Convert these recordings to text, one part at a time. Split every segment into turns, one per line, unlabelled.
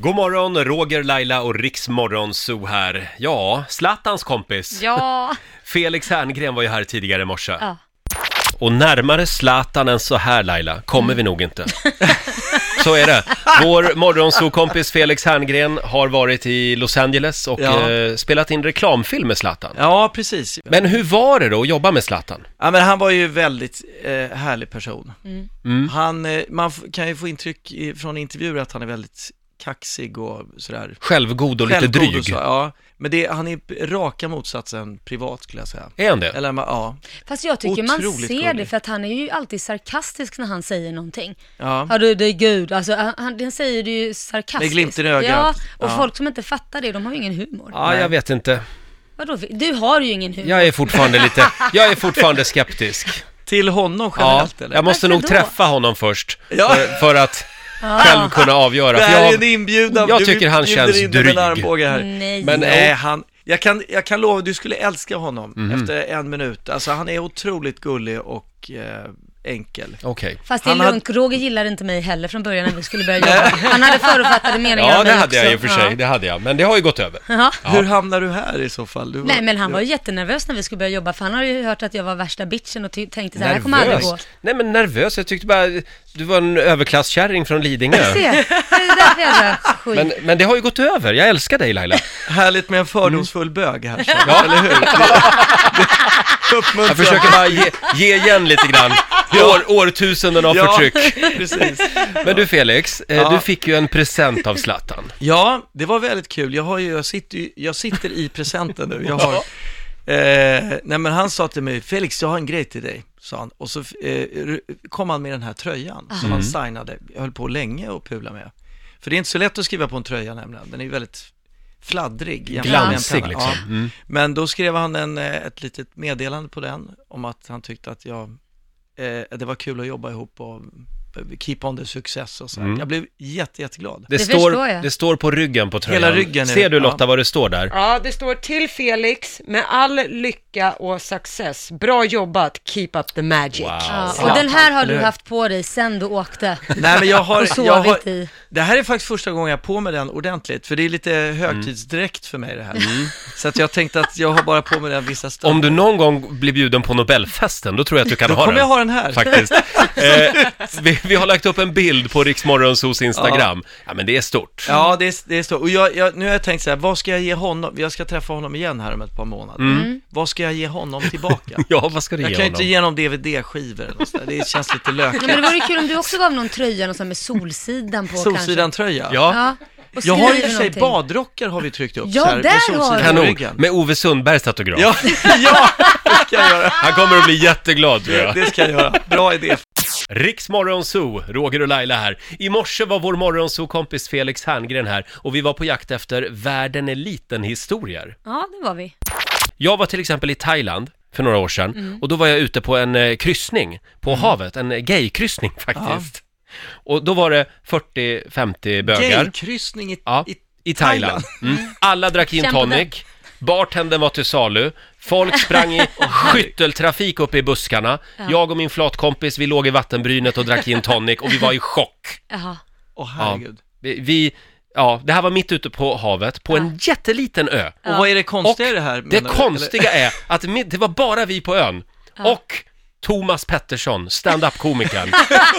God morgon, Roger, Laila och Riksmorgon Zoo här. Ja, Zlatans kompis.
Ja.
Felix Herngren var ju här tidigare i morse.
ja.
Och närmare Zlatan än så här Laila, kommer vi nog inte. Så är det. Vår morgonsokompis Felix Herngren har varit i Los Angeles och
Ja.
eh, spelat in reklamfilm med Zlatan.
Ja, precis.
Men hur var det då att jobba med Zlatan?
Ja, men han var ju väldigt eh, härlig person.
Mm.
Mm.
Han, eh, man f- kan ju få intryck i, från intervjuer att han är väldigt kaxig och sådär.
Självgod och lite
Självgod
dryg.
och så, ja, men det, han är p- raka motsatsen privat skulle jag säga.
Är han det?
Eller, ma- ja,
Fast jag tycker man
Otroligt
ser det
gullig.
för att han är ju alltid sarkastisk när han säger någonting.
ja.
Ja du, det är gud. Alltså han, han den säger det ju sarkastiskt.
Med glimten i ögat.
Ja, och
Ja.
folk som inte fattar det, de har ju ingen humor.
Ja, jag vet inte.
Vadå, du har ju ingen humor.
Jag är fortfarande lite, jag är fortfarande skeptisk.
Till honom
Ja,
generellt eller?
jag måste
Varför
nog
då?
träffa honom först.
Ja.
För, för att själv kunna avgöra.
det
För
här är
jag,
en inbjudan.
jag
Du
tycker han
bjuder
känns
in med en
dryg.
armbåge här.
Nej.
Men-
Nej, han, jag, kan, jag kan lova, du skulle älska honom
Mhm.
efter en minut. Alltså han är otroligt gullig och eh, enkel.
Okej.
Fast det är
han hade-
lugnt, Roger gillade inte mig heller från början när vi skulle börja jobba. Han hade förutfattade meningar
Ja,
om
det
mig
hade
också.
jag i och för sig.
Ja.
Det hade jag. Men det har ju gått över.
Ja.
Hur hamnar du här i så fall? Du var-
Nej men han var ju jättenervös när vi skulle börja jobba för han har ju hört att jag var värsta bitchen och ty- tänkte så här, det här kommer aldrig gå.
Nej, men nervös. Jag tyckte bara du var en överklasskärring från Lidingö.
Se, det är därför jag drar skit.
Men, men det har ju gått över. Jag älskar dig Laila.
Härligt med en fördomsfull bög här, så.
Ja.
eller hur? Det, det uppmuntrar.
Jag försöker bara ge, ge igen lite grann. År, årtusenden av
ja,
förtryck.
precis.
Men du Felix, eh,
Ja.
du fick ju en present av Zlatan.
Ja, det var väldigt kul. Jag, har ju, jag, sitter, ju- jag sitter i presenten nu. Jag har, eh, nej men han sa till mig, Felix jag har en grej till dig, sa han. Och så eh, ru- kom han med den här tröjan som han signade. Jag höll på länge och pula med. För det är inte så lätt att skriva på en tröja nämligen. Den är ju väldigt fladdrig. jämfört med en
Glansig,
penna.
liksom.
Ja. Men då skrev han en, eh, ett litet meddelande på den om att han tyckte att jag, eh, det var kul att jobba ihop och eh, keep on the success och så.
Mm.
här. Jag blev jätte, jätteglad.
Det,
Det förstår
står,
jag.
det står på ryggen på tröjan.
Hela ryggen är
Ser
det.
du
Ja.
Lotta vad det står där?
Ja, det står till Felix med all lycka och success. Bra jobbat, keep up the magic.
Wow.
ja, och
Zlatan.
den här har
Eller
du
hur?
haft på dig sen du åkte.
Nej men jag
Och
har,
sovit
jag har
i.
det här är faktiskt första gången jag har på mig den ordentligt, för det är lite
Mm.
högtidsdräkt för mig det här. Så att jag tänkte att jag har bara på mig den vissa stunder.
Om du någon gång blir bjuden på Nobelfesten, då tror jag att du kan
Då
ha
kommer
den.
jag ha den här.
Faktiskt. Eh, vi, vi har lagt upp en bild på Riksmorgonsos Instagram. Ja. men det är stort.
Ja, det är, det är så. Och jag, jag, nu har jag tänkt så här, vad ska jag ge honom? Jag ska träffa honom igen här om ett par månader.
Mm.
Mm.
Vad ska jag ge honom tillbaka?
Ja, vad ska du
jag
ge
kan ju
honom?
inte ge honom DVD-skivor eller något sånt där. Det känns lite
Ja, men det
lökigt.
vore kul om du också gav någon tröja någon sån med Solsidan på
Solsidan-tröja.
kanske.
Ja,
Ja. Och
Jag har i och
skriver
för sig
någonting.
badrockar har vi tryckt upp
Ja,
så här, med
där har
solsidan
du.
på
kanon.
ryggen.
Med Ove Sundbergs autograf.
Ja, ja, det ska jag göra.
Han kommer att bli jätteglad tror jag.
Det ska jag göra. Bra idé.
Riksmorgonso, Roger och Laila här. I morse var vår morgonso-kompis Felix Herngren här och vi var på jakt efter världen är liten-historier.
Ja, det var vi.
Jag var till exempel i Thailand för några år sedan
Mm.
och då var jag ute på en eh, kryssning på havet, en eh, gaykryssning faktiskt. Och då var det 40-50 bögar.
Gaykryssning i,
Ja,
i
i Thailand. Mm. Alla drack gin
Känn på
tonic, bartendern var till salu, folk sprang i skytteltrafik uppe i buskarna. Jag och min flatkompis, vi låg i vattenbrynet och drack gin tonic och vi var i chock.
Jaha.
Åh herregud.
Vi, vi ja, det här var mitt ute på havet, på en jätteliten ö.
Och vad är det konstiga i
Och
det här?
Det
menar du?
konstiga är att mi- det var bara vi på ön och Thomas Pettersson, stand-up-komikern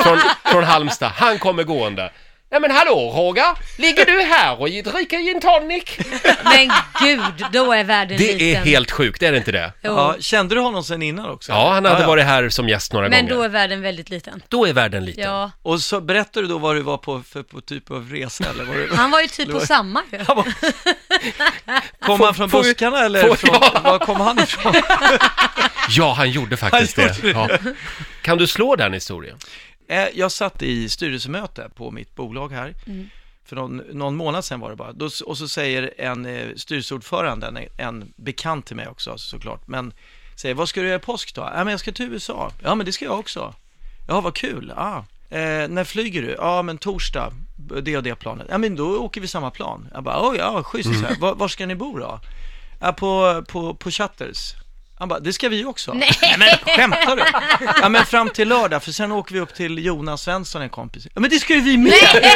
från, från Halmstad, han kommer gående. Nej men hallå Roger, ligger du här och dricker gin tonic?
Men gud, då är världen liten.
Det är helt sjukt, är det inte det?
Jo.
Eller? Ja, kände du honom sen innan också?
Ja, han hade varit här som gäst några
Men
gånger.
då är världen väldigt liten.
Då är världen liten.
Ja,
Och så berättar du då vad du var på för på typ av resa eller var du...
han var ju typ på
Lå-
samma ju.
Kom han från
får vi-
buskarna eller
får-
från,
ja.
var kom han ifrån?
Ja, han gjorde faktiskt
Han gjorde
det. Ja. Kan du slå den historien?
Eh, Jag satt i styrelsemöte på mitt bolag här. För någon, någon månad sedan var det bara. Då, s- och så säger en eh, styrelseordförande, en, en bekant till mig också alltså, såklart, men säger vad ska du göra i påsk då? Ja, men jag ska till USA. Ja, men det ska jag också. Ja, vad kul. Ah. Eh, när flyger du? Ja, men torsdag, b- det och det planet. Ja, men då åker vi samma plan. Jag bara, oj, ja, schysst. Så här. Var, var ska ni bo då? Ja, på, på, på Chatters. Han bara, det ska vi också. Nej. men skämtar du? Ja, men fram till lördag, för sen åker vi upp till Jonas Svensson, en kompis. Ja, men det ska ju vi med!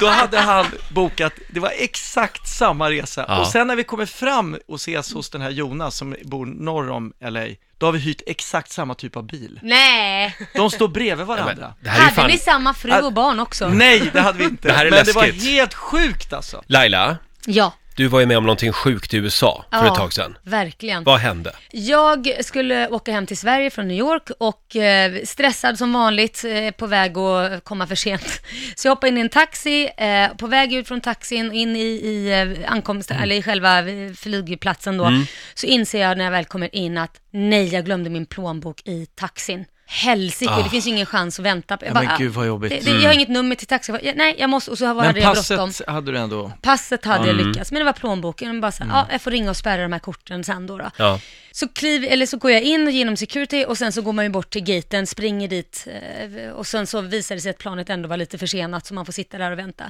Då hade han bokat, det var exakt samma resa.
Ja.
Och sen när vi kommer fram och ses hos den här Jonas som bor norr om LA, då har vi hyrt exakt samma typ av bil.
Nej,
De står bredvid
Men,
varandra.
det här är ju
hade
fan...
ni samma fru och barn också?
Nej, det hade vi inte.
Det här är
Men det var
läskigt.
helt sjukt alltså.
Laila,
Ja.
du var ju med om någonting sjukt i USA för
ja,
ett tag sedan.
Verkligen.
Vad hände?
Jag skulle åka hem till Sverige från New York och eh, stressad som vanligt, eh, på väg att komma för sent. Så jag hoppade in i en taxi, eh, på väg ut från taxin, in i, i eh, ankomst,
Mm.
eller i själva eh, flygplatsen då, så inser jag när jag väl kommer in att nej, jag glömde min plånbok i taxin. Helsike, det finns ju ingen chans att vänta. Jag
Ah. Ja, men gud, vad jobbigt. Mm.
Det, det, jag har inget nummer till taxi. Jag bara, nej, jag måste, och så hade
Men
jag bråttom.
passet Mm. hade du ändå.
Passet hade jag lyckats, men det var plånboken. Och bara så här,
Mm.
ja, jag får ringa och spärra de här korten sen då. då.
Ja.
Så, kliv, eller så går jag in genom security och sen så går man ju bort till gaten, springer dit eh, och sen så visar det sig att planet ändå var lite försenat så man får sitta där och vänta.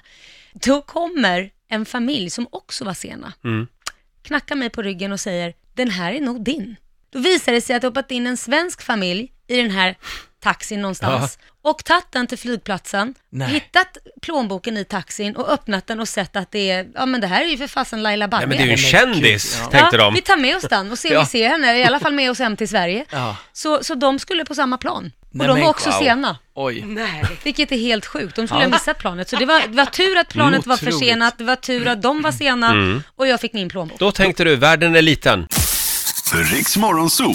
Då kommer en familj som också var sena,
Mm.
knackar mig på ryggen och säger den här är nog din. Då visar det sig att det hoppat in en svensk familj i den här taxin någonstans och tagit den till flygplatsen,
Nej.
hittat plånboken i taxin och öppnat den och sett att det är, ja men det här är ju för fasen Laila Bagge.
Nej men det är ju en kändis,
Ja.
tänkte de.
Vi tar med oss den och ser,
Ja.
vi ser henne, i alla fall med oss hem till Sverige.
Ja.
Så, så de skulle på samma plan. Och
Nej,
de
men-
var också
wow.
sena,
Oj.
Nej.
vilket är helt sjukt. De skulle ha missat planet. Så det var, det var tur att planet
Mm,
var
otroligt. Mm.
försenat, det var tur att de var sena och jag fick min plånbok.
Då tänkte du, världen är liten.
Riks Morgonzoo.